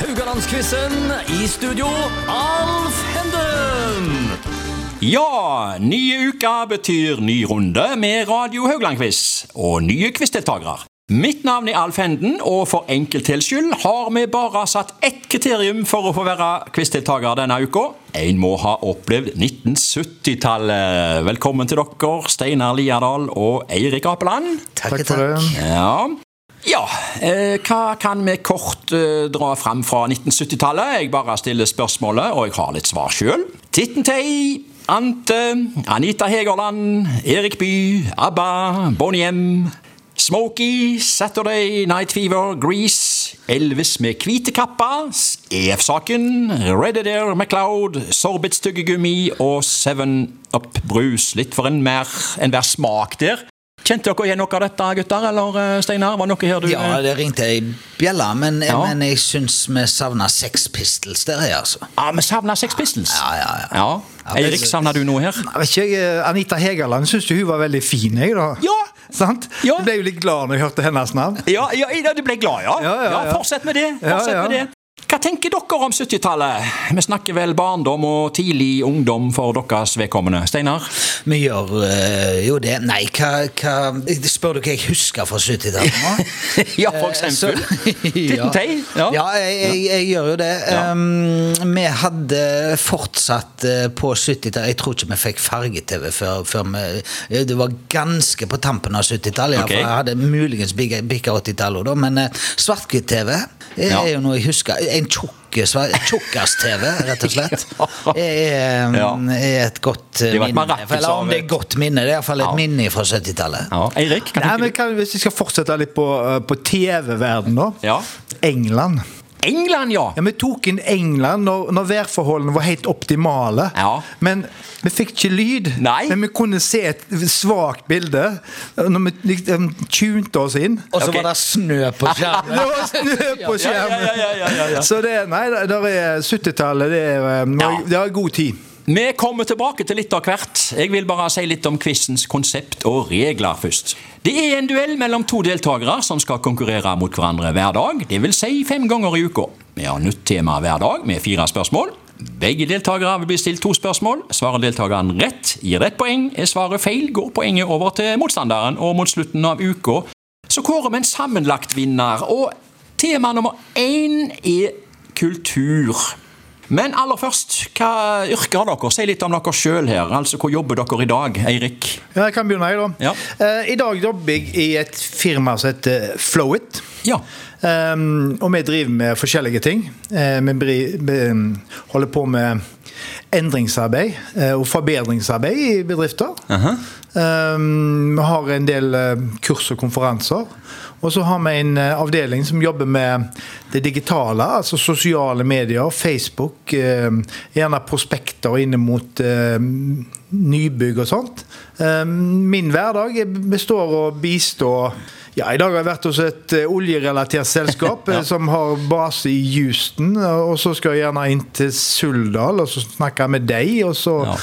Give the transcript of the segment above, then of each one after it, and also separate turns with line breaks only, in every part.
Rogalandsquizen. I studio, Alf Henden.
Ja, nye uker betyr ny runde med Radio Haugland-quiz og nye quizdeltakere. Mitt navn er Alf Henden, og for enkelthets skyld har vi bare satt ett kriterium for å få være quizdeltaker denne uka. En må ha opplevd 1970-tallet. Velkommen til dere, Steinar Liadal og Eirik Apeland.
Takk for det.
Ja. ja. Eh, hva kan vi kort eh, dra fram fra 1970-tallet? Jeg bare stiller spørsmålet, og jeg har litt svar sjøl. Tittentei, Ante, Anita Hegerland, Erik By, ABBA, Bonnie M. Smokey, Saturday Night Fever, Grease, Elvis med hvite kappa, EF-saken, Red Adair MacLeod, Sorbitstyggegummi og Seven Up Brus. Litt for enhver en hver smak der. Kjente dere igjen noe av dette, gutter? Eller eh, Steinar? Var det noe her du eh,
Ja, det ringte ei bjelle, men, eh,
Ja.
men jeg syns vi savna Sex Pistols der, jeg, altså.
Ja, vi savner Sex Pistols.
Ja, ja, ja.
Ja. Eirik, savner du noe her?
Jeg vet ikke, jeg, Anita Hegerland syns jo hun var veldig fin, jeg, da.
Ja!
Sant?
Ja.
Jeg ble jo litt glad når jeg hørte hennes navn.
Ja, ja, ja, du ble glad, ja.
Ja, ja, ja.
Fortsett med det.
Ja,
Fortsett
ja.
med det. Hva tenker dere om 70-tallet? Vi snakker vel barndom og tidlig ungdom for deres vedkommende. Steinar?
Vi gjør øh, jo det Nei, hva, hva Spør du hva jeg husker fra 70-tallet nå?
Ja, for
Eh, Så-
eksempel.
ja.
Titten Tei? Ja.
ja jeg, jeg, jeg gjør jo det.
Ja.
Um, vi hadde fortsatt eh, på 70-tallet Jeg tror ikke vi fikk farge-TV før, før vi eh, Det var ganske på tampen av 70-tallet. ja,
Ok.
for Jeg hadde muligens bikka 80-tallet også da, men eh, svart-hvitt-TV er
Ja.
jo noe jeg husker. En tjukk svar- Tjukkas-TV, rett og slett. Er,
Ja.
er et godt eh,
Det var et
minne.
marakel
Eller
som-
om det er godt minne, det er iallfall et
Ja.
minne fra 70-tallet.
Ja, Eirik? hva
Nei,
tenker
men
du?
kan, Hvis vi skal fortsette litt på, eh, på TV-verden da.
Ja.
England.
England, ja.
Ja, Vi tok inn England når, når værforholdene var helt optimale.
Ja.
Men vi fikk ikke lyd.
Nei.
Men vi kunne se et svakt bilde eh, når vi liksom tunte oss inn.
Og så
Ok.
var det snø på skjermen.
Det var snø på
Ja, ja, ja,
skjermen!
ja, ja, ja.
Så det, nei, det der er 70-tallet. Det, er, eh, det
Ja.
er- det er god tid.
Vi kommer tilbake til litt av hvert. Jeg vil bare si litt om quizens konsept og regler først. Det er en duell mellom to deltakere som skal konkurrere mot hverandre hver dag, dvs. Si fem ganger i uka. Vi har nytt tema hver dag med fire spørsmål. Begge deltakere vil bli stilt to spørsmål. Svarer deltakeren rett, gir ett poeng. Er svaret feil, går poenget over til motstanderen, og mot slutten av uka så kårer vi en sammenlagt vinner. Og tema nummer én er kultur. Men aller først, hva yrker har dere? Si litt om dere sjøl her. Altså, Hvor jobber dere i dag, Eirik?
Ja, jeg kan begynne, jeg, da.
Ja.
Eh, I dag jobber jeg i et firma som heter Flowit.
Ja.
Um, og vi driver med forskjellige ting. Eh, vi bri- be- holder på med endringsarbeid eh, og forbedringsarbeid i bedrifter. Um, vi har en del eh, kurs og konferanser. Og så har vi en eh, avdeling som jobber med det digitale, altså sosiale medier, Facebook, eh, gjerne prospekter inn mot eh, nybygg og sånt. Eh, min hverdag består av å bistå ja, I dag har jeg vært hos et eh, oljerelatert selskap eh, som har base i Houston. eh, Og så skal jeg gjerne inn til Suldal og så snakke jeg med deg. Og så
Ja.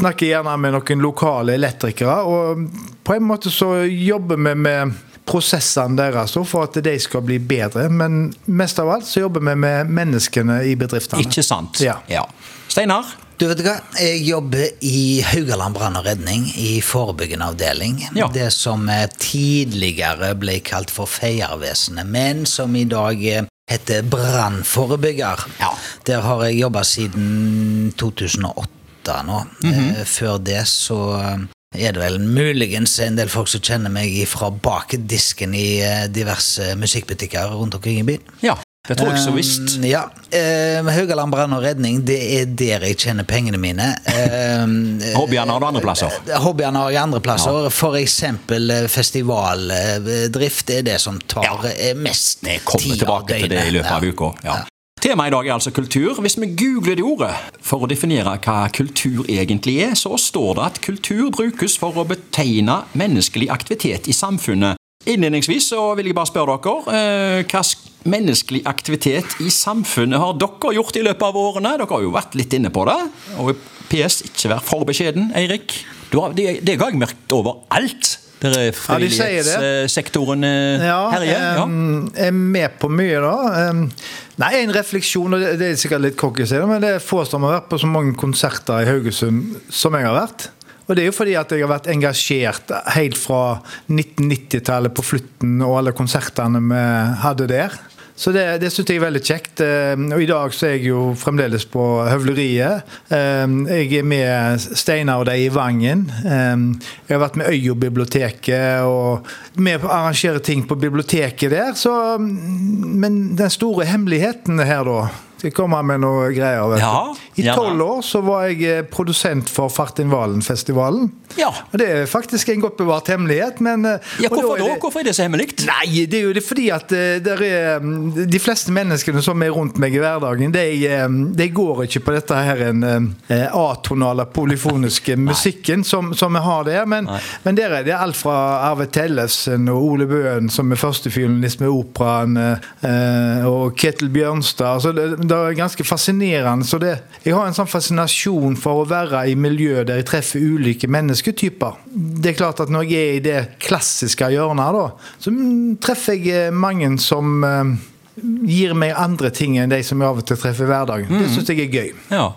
snakker jeg gjerne med noen lokale elektrikere. Og mm, på en måte så jobber vi med prosessene deres da, for at de skal bli bedre. Men mest av alt så jobber vi med menneskene i bedriftene.
Ikke sant?
Ja.
Steinar?
Du vet hva, jeg jobber i Haugaland brann og redning i forebyggende avdeling.
Ja.
Det som eh, tidligere ble kalt for Feiervesenet, men som i dag eh, heter brannforebygger.
Ja.
Der har jeg jobba siden 2008 nå.
Mhm.
Eh, Før det så eh, er det vel muligens en del folk som kjenner meg fra bak disken i eh, diverse musikkbutikker rundt omkring i byen.
Ja. Det tror jeg så visst.
Um, ja. Um, Haugaland brann og redning, det er der jeg tjener pengene mine. Um,
Hobbyene har du andre plasser.
Hobbyene har jeg andre plasser. For eksempel eh, festivaldrift er det som tar
Ja.
eh, mest
Vi kommer tilbake til det i løpet av uka. Ja. Temaet i dag er altså kultur. Hvis vi googler det ordet for å definere hva kultur egentlig er, så står det at kultur brukes for å betegne menneskelig aktivitet i samfunnet. Innledningsvis så vil jeg bare spørre dere eh, hva s- menneskelig aktivitet i samfunnet har dere gjort i løpet av årene? Dere har jo vært litt inne på det. Og PS, ikke vær for beskjeden, Eirik. Du har, det, det har jeg merket overalt. Der er
Ja, de sier det.
frivillighetssektoren eh, herjer. Ja.
em, er med på mye da. Em, nei, en refleksjon, og det, det er sikkert litt cocky å si det, men det er få som har vært på så mange konserter i Haugesund som jeg har vært. Og det er jo fordi at jeg har vært engasjert helt fra 1990-tallet på Flytten og alle konsertene vi hadde der. Så det, det syns jeg er veldig kjekt. Em, Og i dag så er jeg jo fremdeles på Høvleriet. Em, Jeg er med Steinar og de i Vangen. Em, Jeg har vært med Øya-biblioteket og med på å arrangere ting på biblioteket der. Så, mm, men den store hemmeligheten her, da Skal jeg komme med noe greier? Vet du?
Ja,
I
gjerne.
tolv år så var jeg eh, produsent for Fartin Valen-festivalen.
Ja.
Og det er faktisk en godt bevart hemmelighet, men eh,
ja,
og
hvorfor
er
da?
det-
Hvorfor er det så hemmelig?
Nei, det er jo det fordi at eh, der er, mm, de fleste menneskene som er rundt meg i hverdagen, de, eh, de går ikke på dette her en eh, atonale, polyfoniske musikken som, som vi har der. Men,
Nei.
men der er det alt fra Arve Tellefsen og Ole Bøhn, som er førstefiolinist med operaen, eh, eh, og Ketil Bjørnstad. Så det, det er ganske fascinerende. Så det, jeg har en sånn fascinasjon for å være i miljø der jeg treffer ulike mennesketyper. Det er klart at når jeg er i det klassiske hjørnet, da, så mm, treffer jeg eh, mange som eh, gir meg andre ting enn de som jeg av og til treffer i hverdagen. Det syns jeg er gøy.
Ja.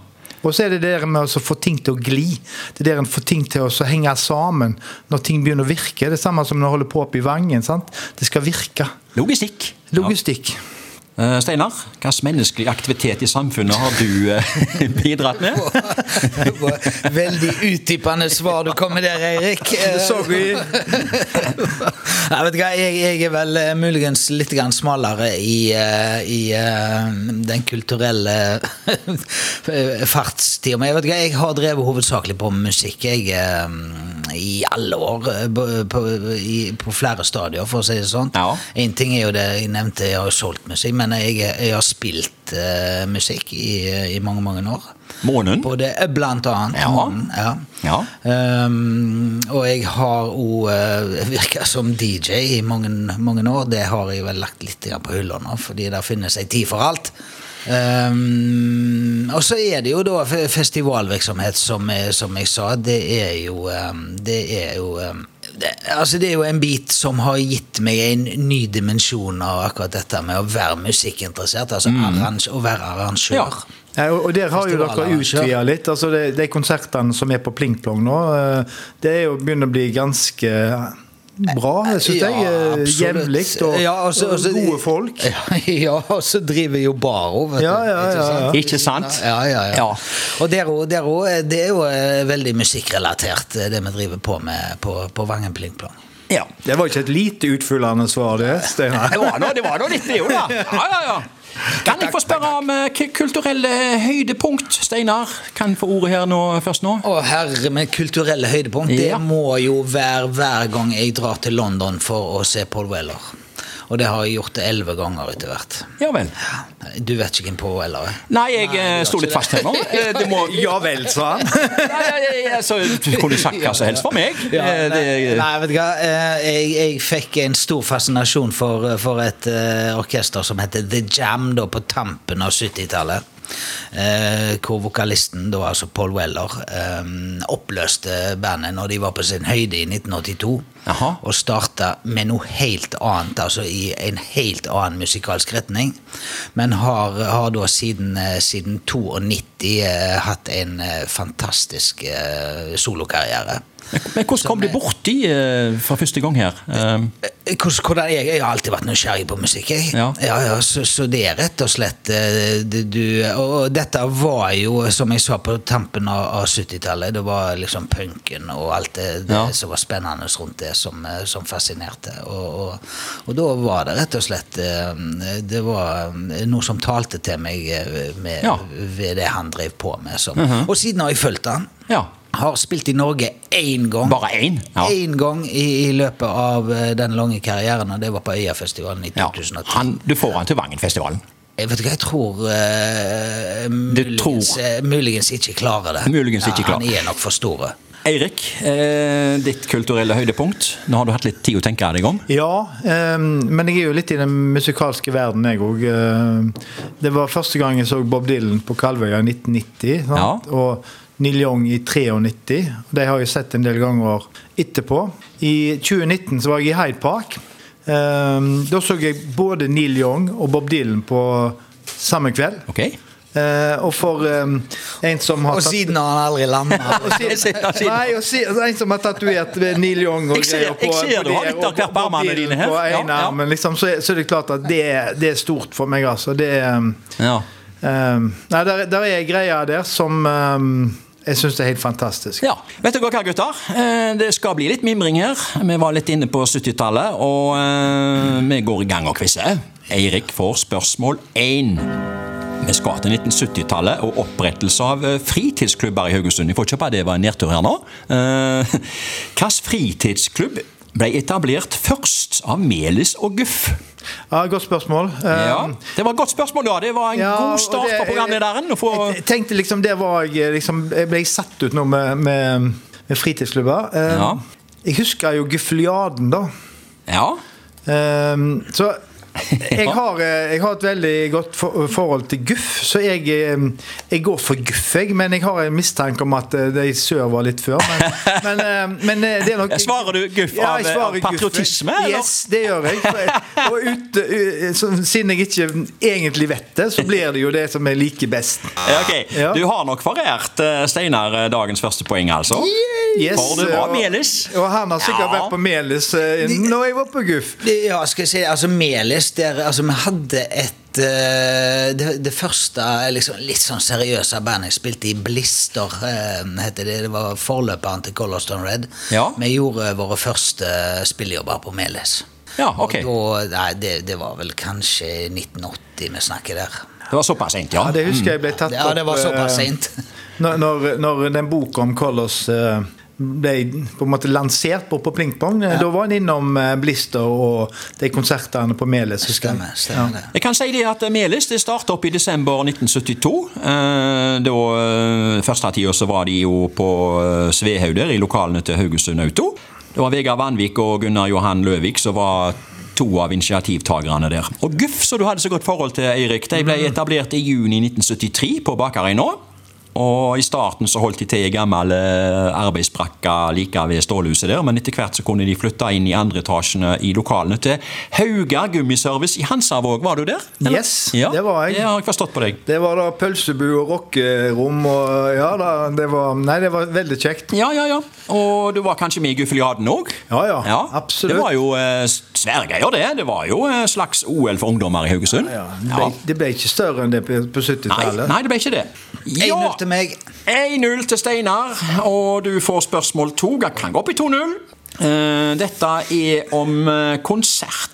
Og så er det det der med å få ting til å gli. Det der en får ting til å så henge sammen når ting begynner å virke. Det er samme som når du holder på oppe i Vangen. sant? Det skal virke.
Logistikk.
Logistikk.
Eh, Steinar, hvilken menneskelig aktivitet i samfunnet har du eh, bidratt med?
Det var Veldig utdypende svar du kom med der, Eirik. Eh,
Sorry.
Nei, vet du hva, jeg, jeg er vel eh, muligens litt grann smalere i, eh, i eh, den kulturelle eh, fartstida. Men jeg vet ikke, jeg har drevet hovedsakelig på med musikk jeg, eh, i alle år. eh, På, på, i, på flere stadier, for å si det sånn.
Ja.
En ting er jo det jeg nevnte, jeg har jo solgt musikk, men jeg, jeg har spilt eh, musikk i, i mange, mange år.
Månen?
På det, eh, blant annet.
Ja.
Månen, ja.
Ja.
Ehm, og jeg har òg virka som DJ i mange, mange år. Det har jeg vel lagt litt grann på hylla nå, fordi der finnes ei tid for alt. Ehm, og så er det jo da fe- festivalvirksomhet, som, jeg- som jeg sa. Det er jo ehm, Det er jo ehm, det, altså det er jo en bit som har gitt meg en ny dimensjon av akkurat dette med å være musikkinteressert. Altså arrange, å være arrangør.
Mm. Ja.
Nei, og og der har jo dere
Festivalarrangør.
utvida litt. altså De, de konsertene som er på Pling Plong nå, eh, det er jo begynner å bli ganske eh, bra, syns
Ja,
jeg. eh,
absolutt.
Jevnlig og,
Ja, altså-
og
altså-
gode folk.
Ja, og så driver jo Baro, vet
Ja,
du.
ja,
Ikke
ja,
sant?
ja.
Ikke sant?
Ja, ja, ja.
Ja.
Og der òg, der òg, eh, det er jo eh, veldig musikkrelatert, eh, det vi driver på med på, på Vangen Plingplong.
Ja.
Det var ikke et lite utfyllende svar, det, Steinar.
Det var nå, det var nå litt, det jo, da. Ja, ja, ja. Kan jeg få spørre om eh, k- kulturelle høydepunkt? Steinar kan få ordet her nå, først nå.
Å herre med kulturelle høydepunkt,
Ja.
det må jo være hver gang jeg drar til London for å se Paul Weller. Og det har jeg gjort elleve ganger etter hvert.
Ja vel.
Du vet ikke hvem Paul Weller er?
Nei, jeg eh, sto litt fast her nå. Eh, Det må
Ja vel, sa han.
Nei, altså, jeg- jeg- Så du kunne sagt hva som helst for meg. Eh,
nei,
Det,
nei, vet du hva. eh, Jeg, jeg fikk en stor fascinasjon for, for et eh, orkester som heter The Jam da, på tampen av 70-tallet. eh, hvor vokalisten, da, altså Paul Weller, eh, oppløste bandet når de var på sin høyde i 1982.
Jaha.
Og starta med noe helt annet, altså i en helt annen musikalsk retning. Men har, har da siden, eh, siden 92 eh, hatt en eh, fantastisk eh, solokarriere.
men hvordan kom du borti eh, for første gang her? Eh,
Hvordan, hvordan jeg, jeg har alltid vært nysgjerrig på musikk. Jeg.
Ja.
Ja, ja, så, så det er rett og slett eh, det, du, og, og dette var jo, som jeg sa, på tampen av, av 70-tallet. Det var liksom punken og alt det, det
Ja.
som var spennende rundt det, som, eh, som fascinerte. Og, og, og da var det rett og slett eh, Det var eh, noe som talte til meg eh, med,
Ja. Mhm.
ved det han drev på med. Som, Og siden har jeg fulgt han.
Ja.
Har spilt i Norge én gang.
Bare én? Ja.
Én gang i, i løpet av eh, den lange karrieren, og det var på Øyafestivalen i
Ja.
2010.
Han, du får han til Vangenfestivalen.
Jeg vet ikke, jeg tror eh, muligens,
tror.
eh, muligens ikke klarer det.
Muligens ikke klarer.
Han er nok for store.
Eirik, eh, ditt kulturelle høydepunkt. Nå har du hatt litt tid å tenke deg om.
Ja, eh, men jeg er jo litt i den musikalske verden, jeg òg. Eh, det var første gang jeg så Bob Dylan på Kalvøya i 1990. Sant?
Ja.
Og Neil Young i 93. De har jeg sett en del ganger etterpå. I 2019 så var jeg i Hyde Park. Ehm, da så jeg både Neil Young og Bob Dylan på samme kveld.
Ok?
Eh, og for ehm, en som har
Og
tatt-
siden har han aldri landa.
og si-
Jeg ser- jeg ser-
Nei, og si, altså, en som har tatovert Neil Young og
Jeg ser-
greier
jeg ser
på
du har
det,
litt av
og på-
hver på armene
på bilen
dine her.
På
Ja,
en
ja.
arm, men liksom, så, er- så er det klart at det, er- det er stort for meg, altså. Det er um,
Ja.
um, Nei, der, der er greier der som um, jeg syns er helt fantastisk.
Ja, vet dere hva gutter? Eh, Det skal bli litt mimring her. Vi var litt inne på 70-tallet, og eh, vi går i gang og quizer. Eirik får spørsmål én. Vi skal til 1970-tallet og opprettelse av eh, fritidsklubber i Haugesund. Jeg får ikke på at det var en nedtur her nå. Eh, Hvilken fritidsklubb ble etablert først av Melis og Guff?
Ja, Godt spørsmål. Um,
Ja, det var et godt spørsmål, da. Det var en
ja, og
god start
det-
på programlederen. å få-
Jeg, jeg tenkte liksom, det var jeg liksom, Jeg ble satt ut nå med, med, med fritidsklubber. Um,
Ja.
Jeg husker jo Guffeliaden, da.
Ja.
Ehm, så jeg
Ja.
har, eh, jeg har et veldig godt for, forhold til Guff, så jeg, eh, jeg går for Guff, jeg. Men jeg har en mistanke om at eh, de søver litt før. Men, men, eh, men eh, det er nok
Svarer du Guff
Ja,
av-
jeg
eh, av
svarer Guff.
patriotisme, eller?
Yes, det gjør jeg. For jeg- Og ut, u- så, siden jeg ikke egentlig vet det, så blir det jo det som jeg liker best.
Ja, ok.
Ja.
Du har nok forert eh, Steinar eh, dagens første poeng, altså.
Yes,
For det var
og-
Melis.
Og han har sikkert
Ja.
vært på Melis eh, når jeg var på Guff.
Ja, skal jeg si, altså Melis der, altså Vi hadde et eh, det, det første liksom, litt sånn seriøse bandet jeg spilte i, Blister, eh, heter det. Det var forløperen til Colorstone Red.
Ja.
Vi gjorde våre første spillejobber på Melis.
Ja, ok.
Og da, nei, det, det var vel kanskje 1980 vi snakker der.
Det var såpass sent, ja.
Ja, det husker jeg ble tatt
Ja, det var
opp,
såpass
eh,
sent.
Når, når, når den boka om Colors eh, ble på en måte lansert på, på Plingpong, eh, da var han innom eh, Blister og de konsertene på Meles. husker jeg.
Stemmer, stemmer det.
Jeg kan si det at Melis det startet opp i desember 1972. Eh, Da, eh, første tida så var de jo på eh, Svehauder i lokalene til Haugesund Auto. Det var Vegard Vanvik og Gunnar Johan Løvik som var to av initiativtakerne der. Og Guff, som du hadde så godt forhold til, Eirik, de ble
Mm.
etablert i juni 1973 på Bakarøy nå. Og I starten så holdt de til i gammel eh, arbeidsbrakka like ved stålhuset der, men etter hvert så kunne de flytte inn i andre etasjene i lokalene til Hauga Gummiservice i Hansavåg. Var du der?
Yes,
ja,
det var jeg.
Det har jeg forstått på deg.
Det var da pølsebu og rockerom og Ja da, det var Nei, det var veldig kjekt.
Ja, ja, ja. Og du var kanskje med i Guffeliaden òg?
Ja, ja, absolutt.
Det var jo eh, svære greier, det. Det var jo eh, slags OL for ungdommer i Haugesund.
Ja, det, ble, det ble ikke større enn det på på
Nei,
70-tallet.
nei, det ble ikke det.
1-0 til meg.
1-0 til Steinar, og du får spørsmål to. Jeg kan gå opp i 2-0. Eh, Dette er om eh,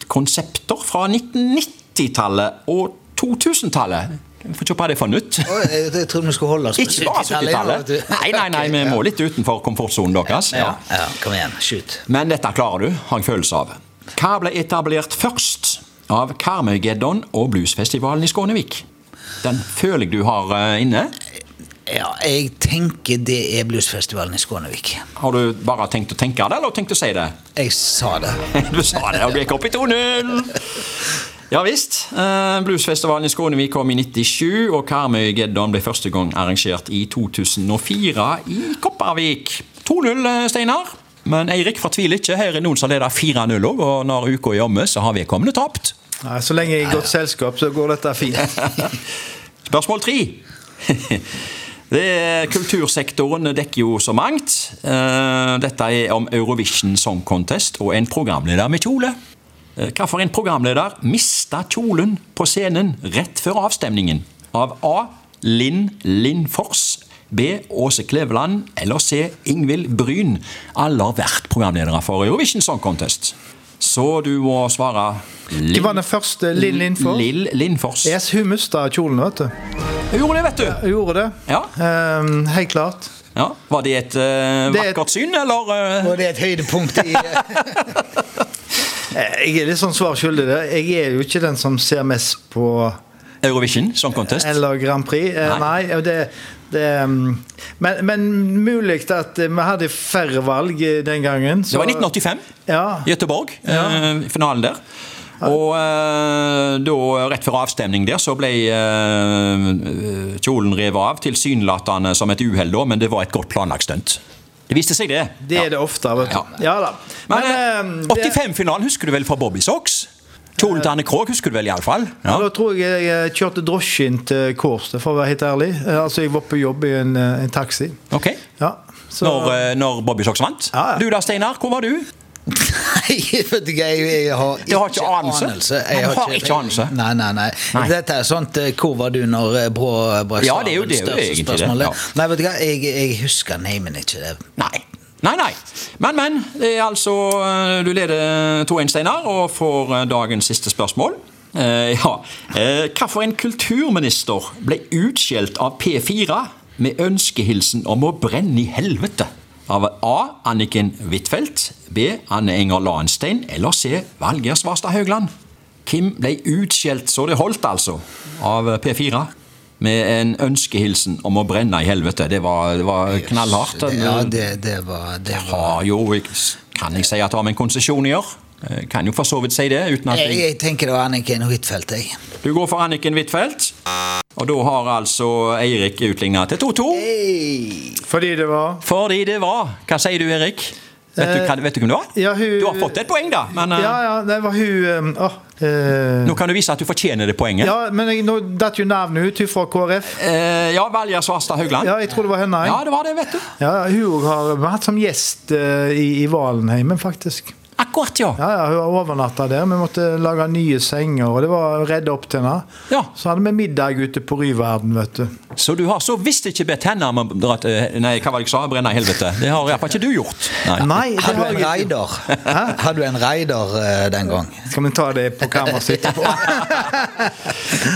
konsertkonsepter fra 1990-tallet og 2000-tallet. Jeg Får ikke hva det er for nytt.
Å, jeg, jeg trodde vi skulle holde oss på
Ikke bare
70-tallet. ja,
70-tallet.
vet du.
Nei, nei, nei, vi må litt utenfor komfortsonen deres.
Ja,
Ja.
ja, kom igjen. Shoot.
Men dette klarer du, har jeg følelse av. Hva ble etablert først av Karmøygeddon og bluesfestivalen i Skånevik? Den føler jeg du har eh, inne.
Ja, jeg tenker det er bluesfestivalen i Skånevik.
Har du bare tenkt å tenke det, eller tenkt å si det?
Jeg sa det.
Du sa det, og du gikk opp i 2-0! Ja visst. Eh, Bluesfestivalen i Skånevik kom i 97, og Karmøygeddon ble første gang arrangert i 2004 i Kopervik. 2-0, eh, Steinar. Men Eirik fortviler ikke. Her er noen som leder 4-0 òg, og når uka er omme, så har vedkommende tapt.
Nei, så lenge jeg er i godt selskap, så går dette fint.
Spørsmål tre. Det er, kultursektoren dekker jo så mangt. Eh, Dette er om Eurovision Song Contest og en programleder med kjole. Eh, Hvorfor en programleder mista kjolen på scenen rett før avstemningen? Av A. Linn Lindfors. B. Åse Kleveland. Eller C. Ingvild Bryn. Alle har vært programledere for Eurovision Song Contest. Så du må svare
Hva var den første Linn Lindfors?
Lill Lindfors.
Yes, hun mista kjolen, vet du.
Hun Gjorde det, vet du!
Hun gjorde det.
Ja.
Ehm, helt klart.
Ja, Var det et eh,
Det er et-
vakkert syn, eller? eh?
Og det er et høydepunkt i
Eh, Jeg er litt sånn svar skyldig der. Jeg er jo ikke den som ser mest på
Eurovision Song Contest?
Eller Grand Prix. Eh,
Nei.
nei, og det, det um, men, men mulig at eh, vi hadde færre valg eh, den gangen.
det var i 1985.
Ja.
Göteborg. eh, finalen der. Og eh, da, rett før avstemning der, så ble eh, kjolen revet av. Tilsynelatende som et uhell, da, men det var et godt planlagt stunt. Det viste seg, det.
Det er det ofte. vet
Ja.
du. Ja da.
Men,
eh,
eh,
det-
85-finalen husker du vel fra Bobby Socks? Kjolen til Anne Krogh husker du vel iallfall?
Ja.
Ja.
Da tror jeg jeg kjørte drosje inn til Kårstø, for å være helt ærlig. Eh, Altså, jeg var på jobb i en, eh, en taxi.
Ok.
Ja, så,
Når, eh, når Bobby Socks vant?
Ja, ja.
Du da, Steinar? Hvor var du?
Nei, vet du hva, jeg, jeg har ikke,
har ikke anelse.
Jeg
Han har ikke anelse.
Nei, nei, nei,
Nei.
Dette er sånt eh, 'Hvor var du når eh, Brå brakk
Ja, det er jo- det er jo
staven?'
egentlig det,
spørsmålet.
ja.
Nei, vet du hva, jeg, jeg husker neimen ikke det.
Nei. Nei, nei. Men, men. Det er altså eh, Du leder 2-1, Steinar, og får eh, dagens siste spørsmål. Eh, ja. Eh, Hvorfor en kulturminister ble utskjelt av P4 med ønskehilsen om å brenne i helvete? Av A. Anniken Huitfeldt. B. Anne Enger Lahnstein. Eller C. Valgeir Svarstad Haugland. Kim ble utskjelt så det holdt, altså, av P4. Med en ønskehilsen om å brenne i helvete. Det var, det var knallhardt.
Ja, det, det var, det var.
Ja, jo, jeg, kan jeg si at det har med en konsesjon å gjøre? Eh, Kan jo for så vidt si det. uten at
Eh,
Jeg,
jeg...
jeg tenker det var Anniken Huitfeldt, jeg.
Du går for Anniken Huitfeldt. Og da har altså Eirik utligna til 2-2.
fordi det var
Fordi det var Hva sier du, Erik? Vet du,
Eh,
hva- vet du hvem det var?
ja, hun-
Du har fått et poeng, da. Men eh,
Ja, ja, det var hun eh, åh, eh,
nå kan du vise at du fortjener det poenget.
Ja, men jeg, nå datt jo navnet ut. Hun fra KrF.
Eh, ja Valja Svarstad Haugland.
Ja, jeg tror det var henne.
Ja,
jeg.
det var det, vet du.
Ja, hun også har vært som gjest eh, i, i Valenheimen, faktisk.
Akkurat, ja.
Ja, ja, Hun har overnatta der. Vi måtte lage nye senger, og det var å redde opp til henne.
Ja.
Så hadde vi middag ute på Ryverden, vet du.
Så du har så visst ikke bedt henne om å dra til Nei, hva var det jeg sa? Brenne i helvete. Det har iallfall ikke du gjort.
Nei, det
Har du
har
en
jeg ikke.
raider? Har du en raider eh, den gang?
Skal vi ta det på kammerset etterpå?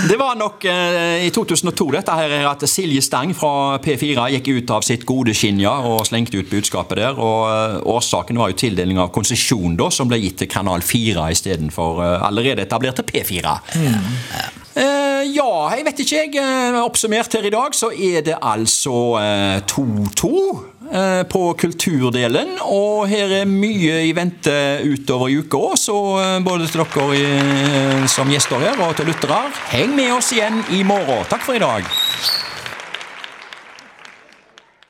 Det var nok eh, i 2002 dette her er at Silje Stang fra P4 gikk ut av sitt gode skinnja og slengte ut budskapet der. og eh, Årsaken var jo tildeling av konsesjon da, som ble gitt til Kanal 4 istedenfor eh, allerede etablerte P4. Eh, ja, jeg vet ikke, jeg. eh, Oppsummert her i dag så er det altså eh, 2-2 eh, på kulturdelen. Og her er mye i vente utover i uka òg, så eh, både til dere eh, i, som gjester her og til lyttere, heng med oss igjen i morgen. Takk for i dag.